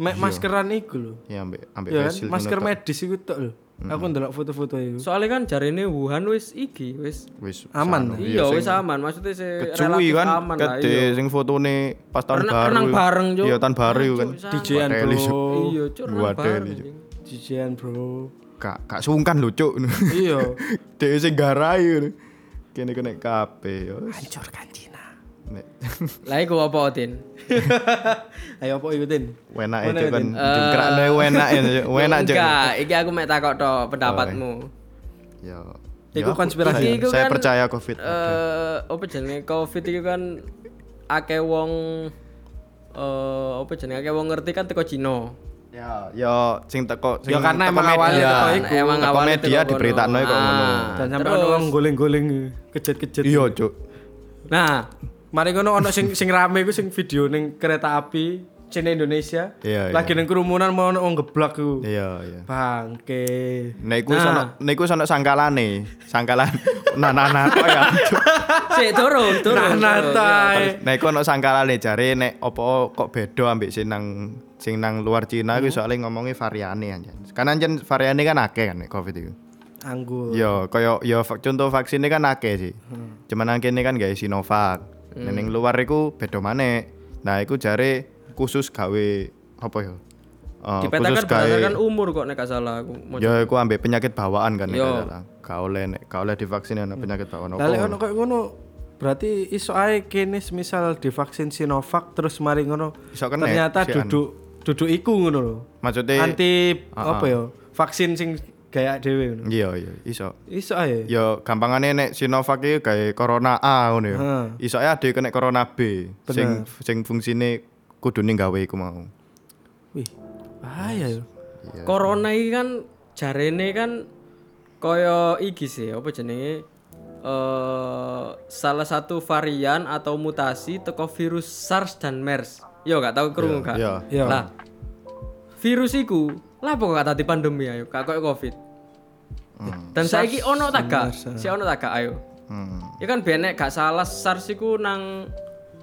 mek maskeran iku lo. ya ambek ambek Ya facial kan? Masker ngono tok. medis iku tok lo. Aku ndelok foto-foto iku. Soalnya kan jarine Wuhan wis iki wis wis Aman. sano. iya wis aman maksudnya sih kecuwi relatif kan aman lah gede iya. sing fotone pas tahun Renang- baru renang ya. bareng, Cuk. iya tahun baru ya kan DJ-an Hotel iso. bro. Iya, cuk renang Waduh, bareng, ini, anjing. DJ-an bro. kak kak sungkan lho cuk [LAUGHS] Iya. dhewe sing garai ngono. kene kene kabeh yo Hancurkan Cina. nek [LAUGHS] Lah iku apa Otin? Ayo apa ikutin? wenake cuk kan jengkrakne wenake [LAUGHS] Cuk. wenake cuk ya, Eh, Enggak, iki aku mek takok tok Oh, pendapatmu. iya. yo Iku Yo, aku- konspirasi. saya- Iku saya kan, percaya covid Eh, apa jenenge Covid iki kan akeh wong eh apa jenenge akeh wong ngerti kan teko Cina. ya yo sing teko sing Ya, karena teko emang media. awalnya teko Kan iku. Emang Teko awalnya media teko diberitakan kono. kok ngono Ah, Dan sampai terus- ono wong goleng-goleng kejet-kejet. iya cuk Nah, [LAUGHS] Mari ngono ono sing sing rame iku sing video ning kereta api Cina Indonesia. Iya, iya. Lagi ning kerumunan mau ono wong geblak iku. iya iya Bangke. Nah, iku nah. sono, nah iku sono sangkalane, sangkalan. [LAUGHS] Nah, nah, oh nah, kok [LAUGHS] ya. sik turun, turun. Nah, nah, turun. Ya, tai. Nah, iku ono sangkalane jare nek opo kok beda ambek sing nang sing nang luar Cina Hmm. iku soalnya ngomongnya variane anjen. Kan anjen variane kan akeh kan nek Covid iku. Anggur. Yo, koyo yo va- contoh vaksinnya kan akeh sih. Hmm. Cuman nang kene kan gawe Sinovac. Nah, ning luar iku beda maneh. Nah, iku jare khusus gawe apa ya? Eh, Dipetakan berdasarkan umur kok nek gak salah aku. Mau- Ya, iku ambek penyakit bawaan kan nek Yo. Hmm. gak salah. Gak oleh nek gak oleh divaksin ana penyakit bawaan Lah lek apa. ono koyo ngono berarti iso ae kene misal divaksin Sinovac terus mari ngono Iso kena, ya, anu. ternyata sian. duduk duduk iku ngono lho. Maksudnya Anti Ah, apa ya? Vaksin sing gaya dhewe ngono. Iya iya iso. Iso ae. Ya gampangane nek Sinovac iki gawe corona A ngono ya. Hmm. Heeh. Iso ae ade kena corona B. Sing sing fungsine kudune gawe iku mau. Wih. Bahaya ya. yo. Iya. Corona iki kan jarene kan kaya iki sih apa jenenge eh salah satu varian atau mutasi teko virus SARS dan MERS. Yo gak tau krungu gak? iya. Iya. Lah virus iku lah apa kok gak tadi pandemi ayo gak koyo Covid. Dan saiki ono tak gak? Si ono tak gak ayo. Hmm. Ya kan benek gak salah SARS iku nang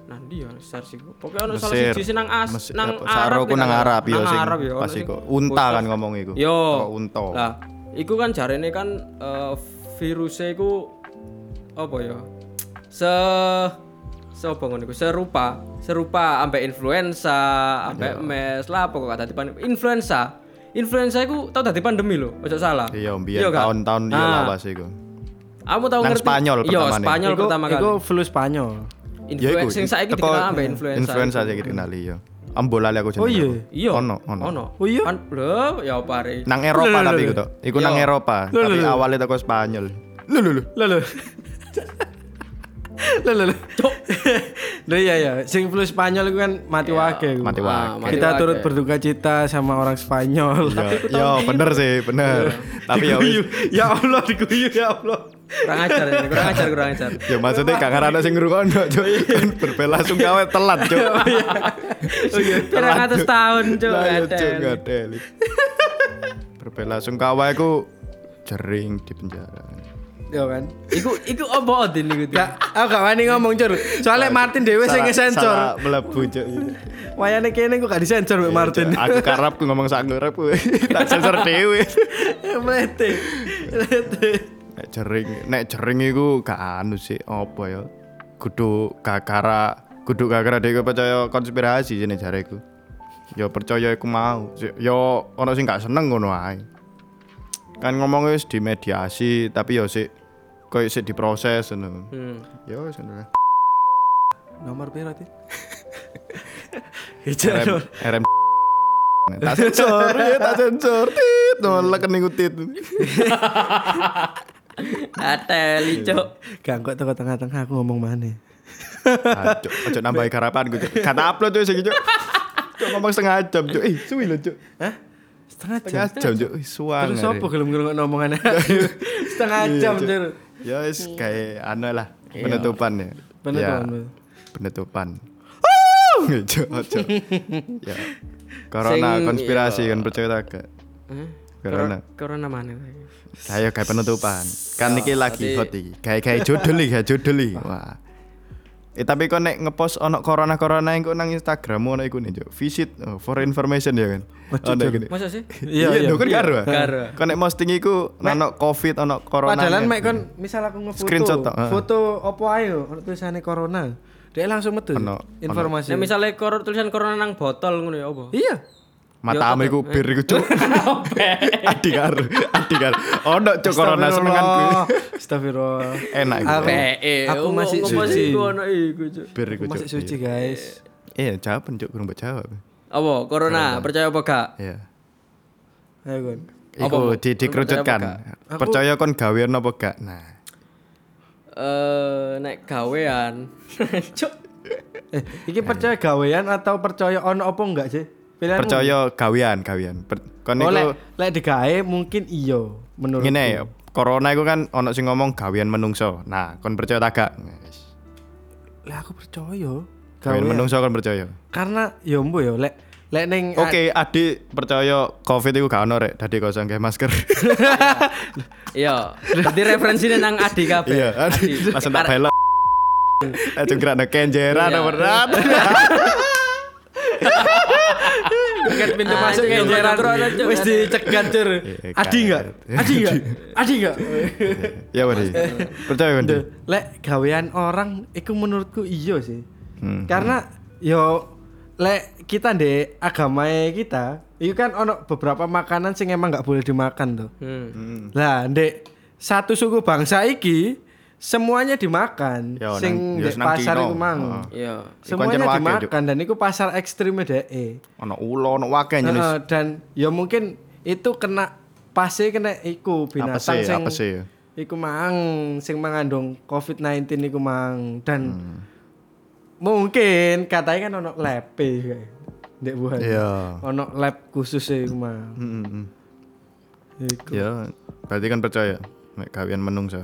nang ndi ya SARS iku. Pokoke ono salah Mesir. siji sih nang as Mesir- nang apa, Arab. Saroku nek nang gak salah. Arab yo Nang sing Arab ya, ono pas sing iku. Unta kan ngomong iku. Teko Yo. Unta. Lah, iku kan jarene kan eh, virusnya iku apa ya? Se sapa ngono iku serupa, serupa ambek influenza, ambek Iya. MERS lah apa kok gak dadi pandemi. Influenza. Influenza iku tau dadi pandemi lho, ojo salah. Iya, biyen gak? tahun-tahun iya Nah, lawas iku. Kamu tau Nang ngerti? Spanyol Yo, pertamane. Spanyol Iku, pertama kali. iku flu Spanyol. Ya iya, iku. Influenza sing saiki teko- dikenal ambek influenza. Influenza sing dikenali yo. Ambolale aku jenenge. Oh, iya. aku. Iya. Ono ono. Nah. Ono. Oh, iya? An- Lho, ya apa hari? Nang Eropa tapi iku tok. Iku nang Yo. Eropa, tapi awalnya teko Spanyol. Iya. Lho lho lho. Lho lho. Lho lho. Cok. Lho iya iya, sing flu Spanyol iku kan mati wake. iku. Iya. Mati Ah, wae. mati Kita wake. turut berduka cita sama orang Spanyol. Yo, yo bener sih, bener. Tapi ya wis. Diguyu. ya Allah diguyu ya Allah. kurang ajar ini, kurang ajar, kurang ajar. Ya maksudnya gak karena sing ngrungokno, Cuk. Kan berbelasung gawe telat, Cuk. Kurang atas tahun Lah, coba ya, Cuk, ngadeli. Berbelasung gawe aku jering di penjara. ya kan. Iku iku opo Odin iku? [LAUGHS] Din? Gak, aku gak wani ngomong cur. Soalnya Martin dewe sing Salah Iya, ngesensor. mlebu cuk. Wayane kene kok gak disensor mbek Martin. [LAUGHS] Aku karep ku ngomong sak ngurep ku. tak sensor dhewe. Melete. Melete. Nek jering, nek jering iku gak anu sih apa ya? Kudu kakara, kudu kakara dhewe percaya konspirasi jenenge jareku. Ya percaya iku mau. Si- Ya ana sing gak seneng ngono ae. Kan ngomongnya wis dimediasi, tapi ya sik koyo sik diproses ngono. Hmm. Ya wis ngono lah. Nomor piro Tin? RM RM tak sensor ya tak sensor tit nolak kening tit Ateli, Cok. Gak kok teko tengah-tengah aku ngomong mana Aduh, ojo nambah harapan gue kata upload tuh segi cuk Cuk, ngomong setengah jam cuk eh suwi lo cuk Hah? Setengah jam. setengah jam cuk Ih, suang Terus hari. apa gelem gelem [LAUGHS] omongan Setengah Iya, jam Cuk. cur. ya wis kayak anu lah penutupan ya Penutupan, Ya, betul. penutupan [LAUGHS] Cuk, cuk. ya Sing- corona konspirasi kan percaya tak gak? Hah? corona Corona mana? Kayak kayak penutupan. Kan iki lagi tadi- hot iki. Kayak kayak judul iki, kayak judul iki. Wah. Eh tapi kok nek ngepost ono corona-corona engko nang Instagrammu ono iku nih, Cuk. Visit oh, for information ya kan. Waduh, Ono Cuk. iku nih. Masa [LAUGHS] sih? Iya, iya. lho, kan karo. ah. Karo. Kok nek posting iku ono covid ono corona. Padahal ya. mek kon misal aku ngefoto Screenshot tok, heeh. foto opo ae yo ono tulisane corona. Dia langsung metu Ono, informasi. Nah, misalnya kor tulisan corona nang botol ngono ya apa? [LAUGHS] Iya. matamu iku bir iku [LAUGHS] Cuk. Adik karo. Adik karo. Ono Cuk corona senengan gue. Astagfirullah. Astagfirullah. Enak iku. Aku, Eh, aku masih suci. suci. Iku ono iku, Cuk. Bir Aku iku Cuk. masih suci, guys. Iya, jawaban Cuk, kurang jawab. Apa corona percaya apa gak? Iya. Ayo kon. Iku di, dikerucutkan. Percaya kon gawean apa gak? Nah. Eh, nek gawean. [LAUGHS] Cuk. Eh, iki percaya gawean atau percaya ono opo enggak sih? Pilihan Percaya gawean, gawean. Per, kon Oh, iku lek lek digawe mungkin iya menurut. ngene ya, corona iku kan ono sing ngomong gawean menungso. Nah, kon percaya ta gak? Yes. Lah aku percaya. Gawean Gawean. menungso kon percaya. Karena yo mbo yo lek lek ning Oke, Adi percaya Covid iku gak ono rek, dadi kosong kayak masker. Iya, jadi referensinya nang Adi [LAUGHS] kabeh. Iya, Adi langsung tak belok. Aja gerak nek kenjeran Iya. apa berat. tiket pintu Ah, masuk itu yang kenjeran. kontrol aja, Wis Mas. dicegat cur. iya, Adi enggak? karet. Adi [LAUGHS] enggak? Adi enggak? Ya bener. Percaya kon. Di? Duh, Lek gawean orang iku menurutku iya sih. Hmm, Karena yo lek kita ndek agama kita, itu kan ono beberapa makanan sing emang nggak boleh dimakan tuh. Hmm. Lah ndek satu suku bangsa iki semuanya dimakan. Yo, nang- sing yo ndek nang pasar Cina. iku mang. Heeh. Iya. Semuanya Iku ancen wake, dimakan dan iku pasar e. ekstrimnya dhek. Ono ulo, ono wakil jenis. Heeh, dan ya mungkin itu kena pasti kena iku binatang Apese, sing apese ya. iku mang sing mengandung COVID-19 iku mang dan mungkin katanya kan ono lab kayak ndek Wuhan. Iya. Ono lab khusus e iku mang. Mm, mm, mm. Iku. Ya, berarti kan percaya nek gawean menungso.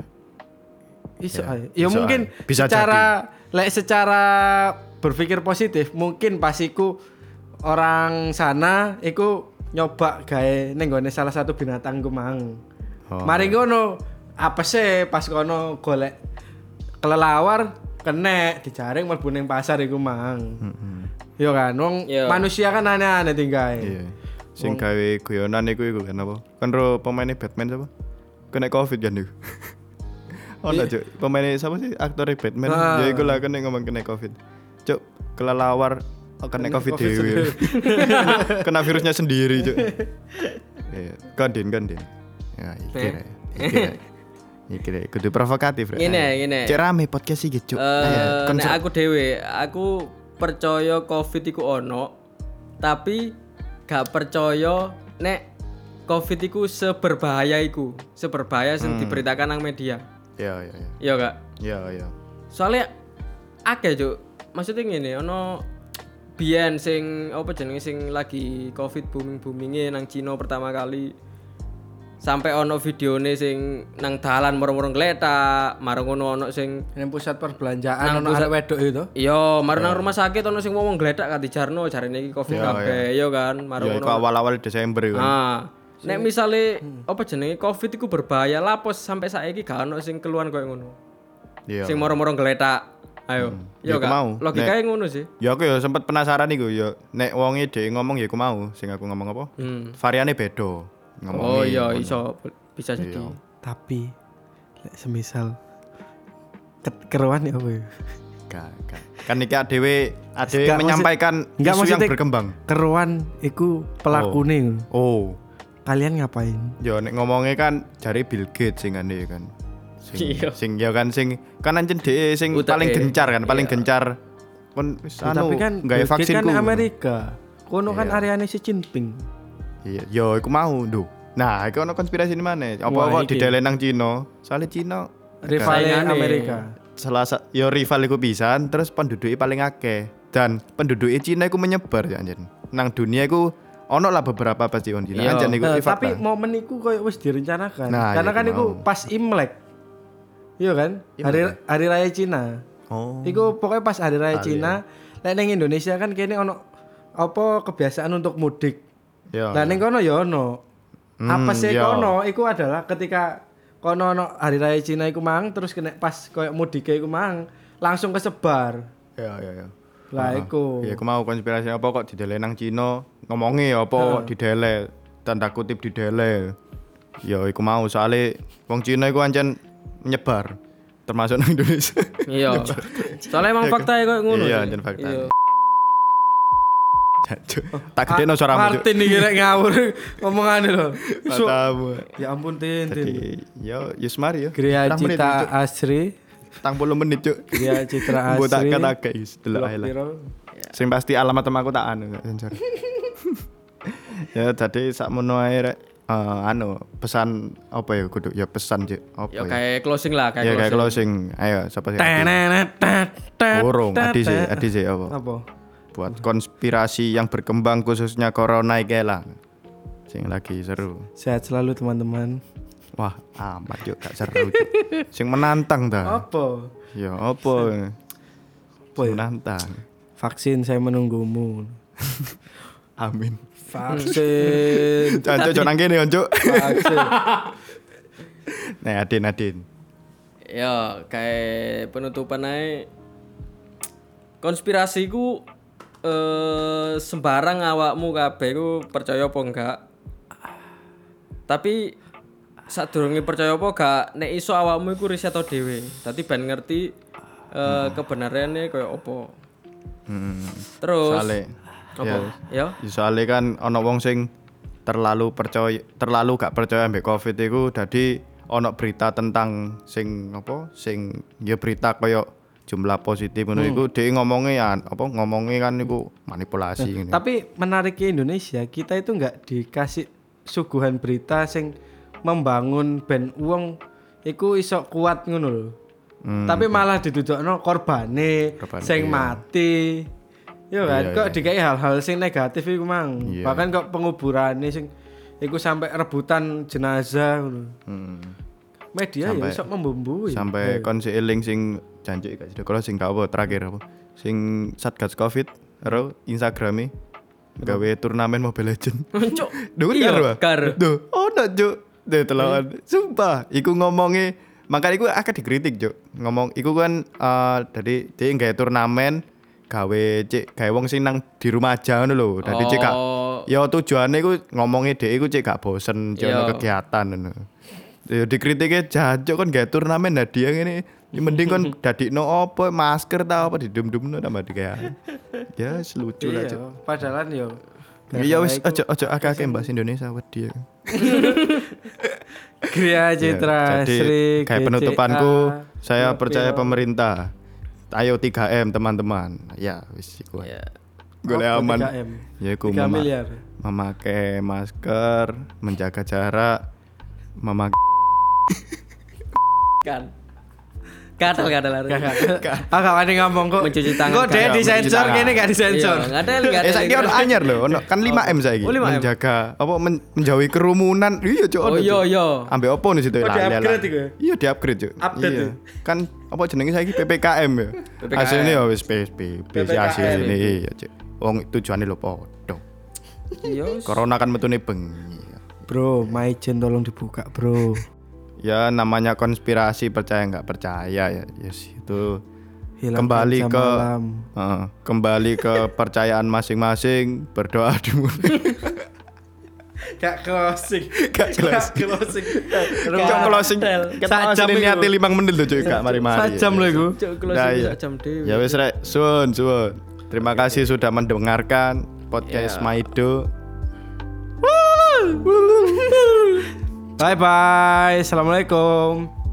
Iso Ya, ae. Ya iso mungkin ae. Bisa secara lek secara berpikir positif mungkin pas iku orang sana iku nyoba gawe ning nggone salah satu binatang ku mang. Oh. Mari ngono apa sih pas kono golek kelelawar kene dijaring mlebu ning pasar iku mang. Hmm. Yo kan wong Yo. manusia kan aneh-aneh tinggae. Iya. Sing gawe guyonan iku iku kan apa? Kan ro pemainnya Batman siapa? Kena Covid kan iku. Ono Cuk. Pemainnya siapa sih aktornya Batman? Ah. Ya iku lah kena ngomong kena Covid. Cuk, kelelawar oh, kena Covid dhewe. kena virusnya sendiri, Cuk. Iya, kan Din, kan Din. Ya, iki Eh. rek. Iki rek. Iki rek, kudu provokatif rek. Ngene, ngene. Cek rame podcast iki, Cuk. Eh, nek aku dhewe, aku percaya Covid iku ono, tapi gak percaya nek Covid iku seberbahaya iku, seberbahaya sing diberitakan nang media. Ya, ya, ya. Iya gak? Ya, ya. Soalnya akeh, Cuk. Maksudnya ngene, ono biyen sing apa jenenge sing lagi Covid booming-boominge nang Cina pertama kali. Sampai ono videone sing nang dalan murung-murung gletak, marung ngono ono sing Ning pusat perbelanjaan ono arek wedok itu. Iya, mari nang rumah sakit ono sing ngomong gledak kati jarno jarene iki covid kabeh, iya kan? Mari Ya, iku ngono. awal-awal Desember iku. Ah. Nek misale apa jenenge Covid iku berbahaya lapos sampai saiki gak ono sing keluhan koyo ngono. Iya. Hmm. Sing moro-moro geletak. Ayo. Ya, Yo gak. mau. Logikane ngono sih. Ya aku ya sempat penasaran iku ya nek wonge dhek ngomong ya aku mau sing aku ngomong apa? Hmm. Variane beda ngomong. Oh iya iso bisa jadi. Tapi lek semisal ket- keruan ya apa ya? Gak, gak. Kan iki adewe adewe Gak, maksud- menyampaikan Nggak, isu yang maksudnya- berkembang. Keruan iku pelakune. ngono. Oh. Kalian ngapain? Ya nek ngomongnya kan jari Bill Gates sing ngene ya kan. Sing Iya. sing ya kan sing kan anjen dhek sing Utek paling e. gencar kan, paling gencar. Kon wis Ya, anu tapi kan gawe Bill Gates vaksinku. kan Amerika. Kono kan Iya. areane si Jinping. Iya, yo iku mau, Duh. Nah, iki ono konspirasi di mana? Wah, Apa kok iki. didelen nang Cina? Soale Cina Rivale Saingane. Amerika. salah sa- yo rival iku pisan, terus penduduknya paling akeh. Dan penduduk Cina iku menyebar ya anjen. Nang dunia iku ono lah beberapa pasti on Cina. Iya. Anjen iku Nah, iki fakta. tapi momen iku koyo wis direncanakan. Nah, Karena iya, kan aku iku mau. pas Imlek. Iya kan? Hari hari raya Cina. ya. Oh. ya. Iku pokoknya pas hari raya Cina, lek ning Indonesia kan kene ono apa kebiasaan untuk mudik. Yo. Nah, Lah ning kono ya ono. Apa sih iya. kono iku adalah ketika kono ono hari raya Cina iku mang terus kena pas koyo mudik iku mang langsung kesebar. Yo yo yo. Nah, Lah iku. Ya aku mau konspirasi apa kok didele nang Cina ngomongi ya Nah. apa kok didele tanda kutip didele. Ya iku mau soalnya wong Cina iku anjen menyebar termasuk nang Indonesia. [LAUGHS] Iya. Soalnya emang fakta koyo ngono. iya, sih. anjen fakta. Iya. Jancuk. tak gede no suaramu. Cuk. Martin iki rek ngawur ngomongane lho. Su- Matamu. Ya ampun Tin, Tin. Jadi, yo Yusmar yo. Gria Pirang menit, Cita Cuk? Asri, Tang puluh menit cuk. Gria Citra [LAUGHS] Mbok tak Asri. katakake is delok Blok ae lah. Ya. piro? Sing pasti alamat temanku tak anu gak sensor. [LAUGHS] ya tadi sakmono ae rek eh, anu pesan apa ya kudu ya pesan cuk apa Yo ya. kayak closing Ya lah, kayak kayak closing. closing. Ayo siapa sih? Adi? Tenenetetet. Urung, adi sih, adi sih apa? Apa? Buat konspirasi yang berkembang khususnya corona iki lah. Sing lagi seru. Sehat selalu teman-teman. Wah, amat cuk gak seru cuk. Sing menantang ta. Apa? Ya apa? Apa ya? Menantang. Vaksin saya menunggumu. Amin. Vaksin. Cuk, cuk nang kene, cuk. Vaksin. Nah, Adin, Adin. Ya, kayak penutupan ae konspirasi ku eh, sembarang awakmu kabeh ku percaya apa enggak. Tapi sadurunge percaya apa enggak, nek iso awakmu iku riset to dhewe. Dadi ben ngerti eh, kebenarane kaya apa. Terus Soale. apa? Ya. Ya, soale kan ana wong sing terlalu percaya terlalu gak percaya ambek Covid iku dadi ana berita tentang sing apa sing ya berita koyo jumlah positif ngono iku dhek ngomongnya ya apa ngomongnya kan iku manipulasi ngene. Tapi menariknya Indonesia, kita itu nggak dikasih suguhan berita sing membangun band uang iku iso kuat ngono lho. Tapi malah didudukno korbane, Hmm, Korbane, sing iya. mati. Yo kan, Iya, kok dikai hal-hal sing negatif iku mang. Iya. Bahkan kok penguburane sing iku sampai rebutan jenazah ngono. Hmm. Media ya Sampai- iso ya. membumbui. Sampai kon si eling sing janji gak sida kalau sing gak apa terakhir apa sing Satgas Covid karo Instagrame gawe turnamen Mobile Legend. [LAUGHS] Cuk. [LAUGHS] Duh, Iya, karo. kar. Duh, ono, Cuk. Duh, telokan. Sumpah, iku ngomongi makanya iku akan dikritik, Cuk. Ngomong iku kan eh dari dia gawe turnamen gawe cek gawe wong sing nang di rumah aja ngono lho. Dadi cek gak Oh. Ya tujuannya iku ngomongi dhek iku cek gak bosen cek ono Iya. kegiatan ngono. Ya dikritiknya jancuk kan gawe turnamen hadiah ngene. Ya mending [LAUGHS] kon dadikno apa masker ta apa didum-dumno tambah dikaya. Ya yes, lucu lah, Iya, Cuk. padahal yo. Ya wis aja aja akeh-akeh mbahas Indonesia wedi. ya. Gria Citra Iya, Jadi Sri kayak GCA. penutupanku saya percaya pemerintah. Ayo 3M teman-teman. Ya wis iku. Ya. Golek Iya. Apa aman. 3M? Ya iku 3 mema- miliar. memakai masker, menjaga jarak, memakai Kan. Kadal kadal harus. Ah gak wani ngomong kok. Mencuci tangan, Kok dia Kak. disensor Mencuci kene gak disensor. Iya, Kadal kadal. Eh saiki ono anyar lho, ono kan 5M saiki. Oh, 5M. Menjaga apa men- menjauhi kerumunan. Iya, Cuk. Oh ono, Cuk. iya iya. Ambek opo nih situ Oh, Lah, lah, di-upgrade lah. iku ya? Iya di upgrade cuy. Update iya. ya? Kan apa jenenge saiki PPKM ya. PPKM. Hasilnya ya wis PSBB sih PPKM. hasilnya iya cuy. Wong tujuane lho podo. Iya. Corona kan metune bengi. Bro, Maijen tolong dibuka, [LAUGHS] Bro. ya namanya konspirasi percaya nggak percaya ya yes itu Hilangkan Kembali jam ke- malam. Heeh, kembali ke [LAUGHS] percayaan masing-masing berdoa di Gak closing. Gak [LAUGHS] closing. closing. Cok closing kita Sajam asli itu. niate limang menit loh cuy kak mari-mari Sajam loh iku. Cok Nah, closing iya. sak jam dewe. ya wes rek suun suun terima kasih sudah mendengarkan podcast Maido Bye bye. Assalamualaikum.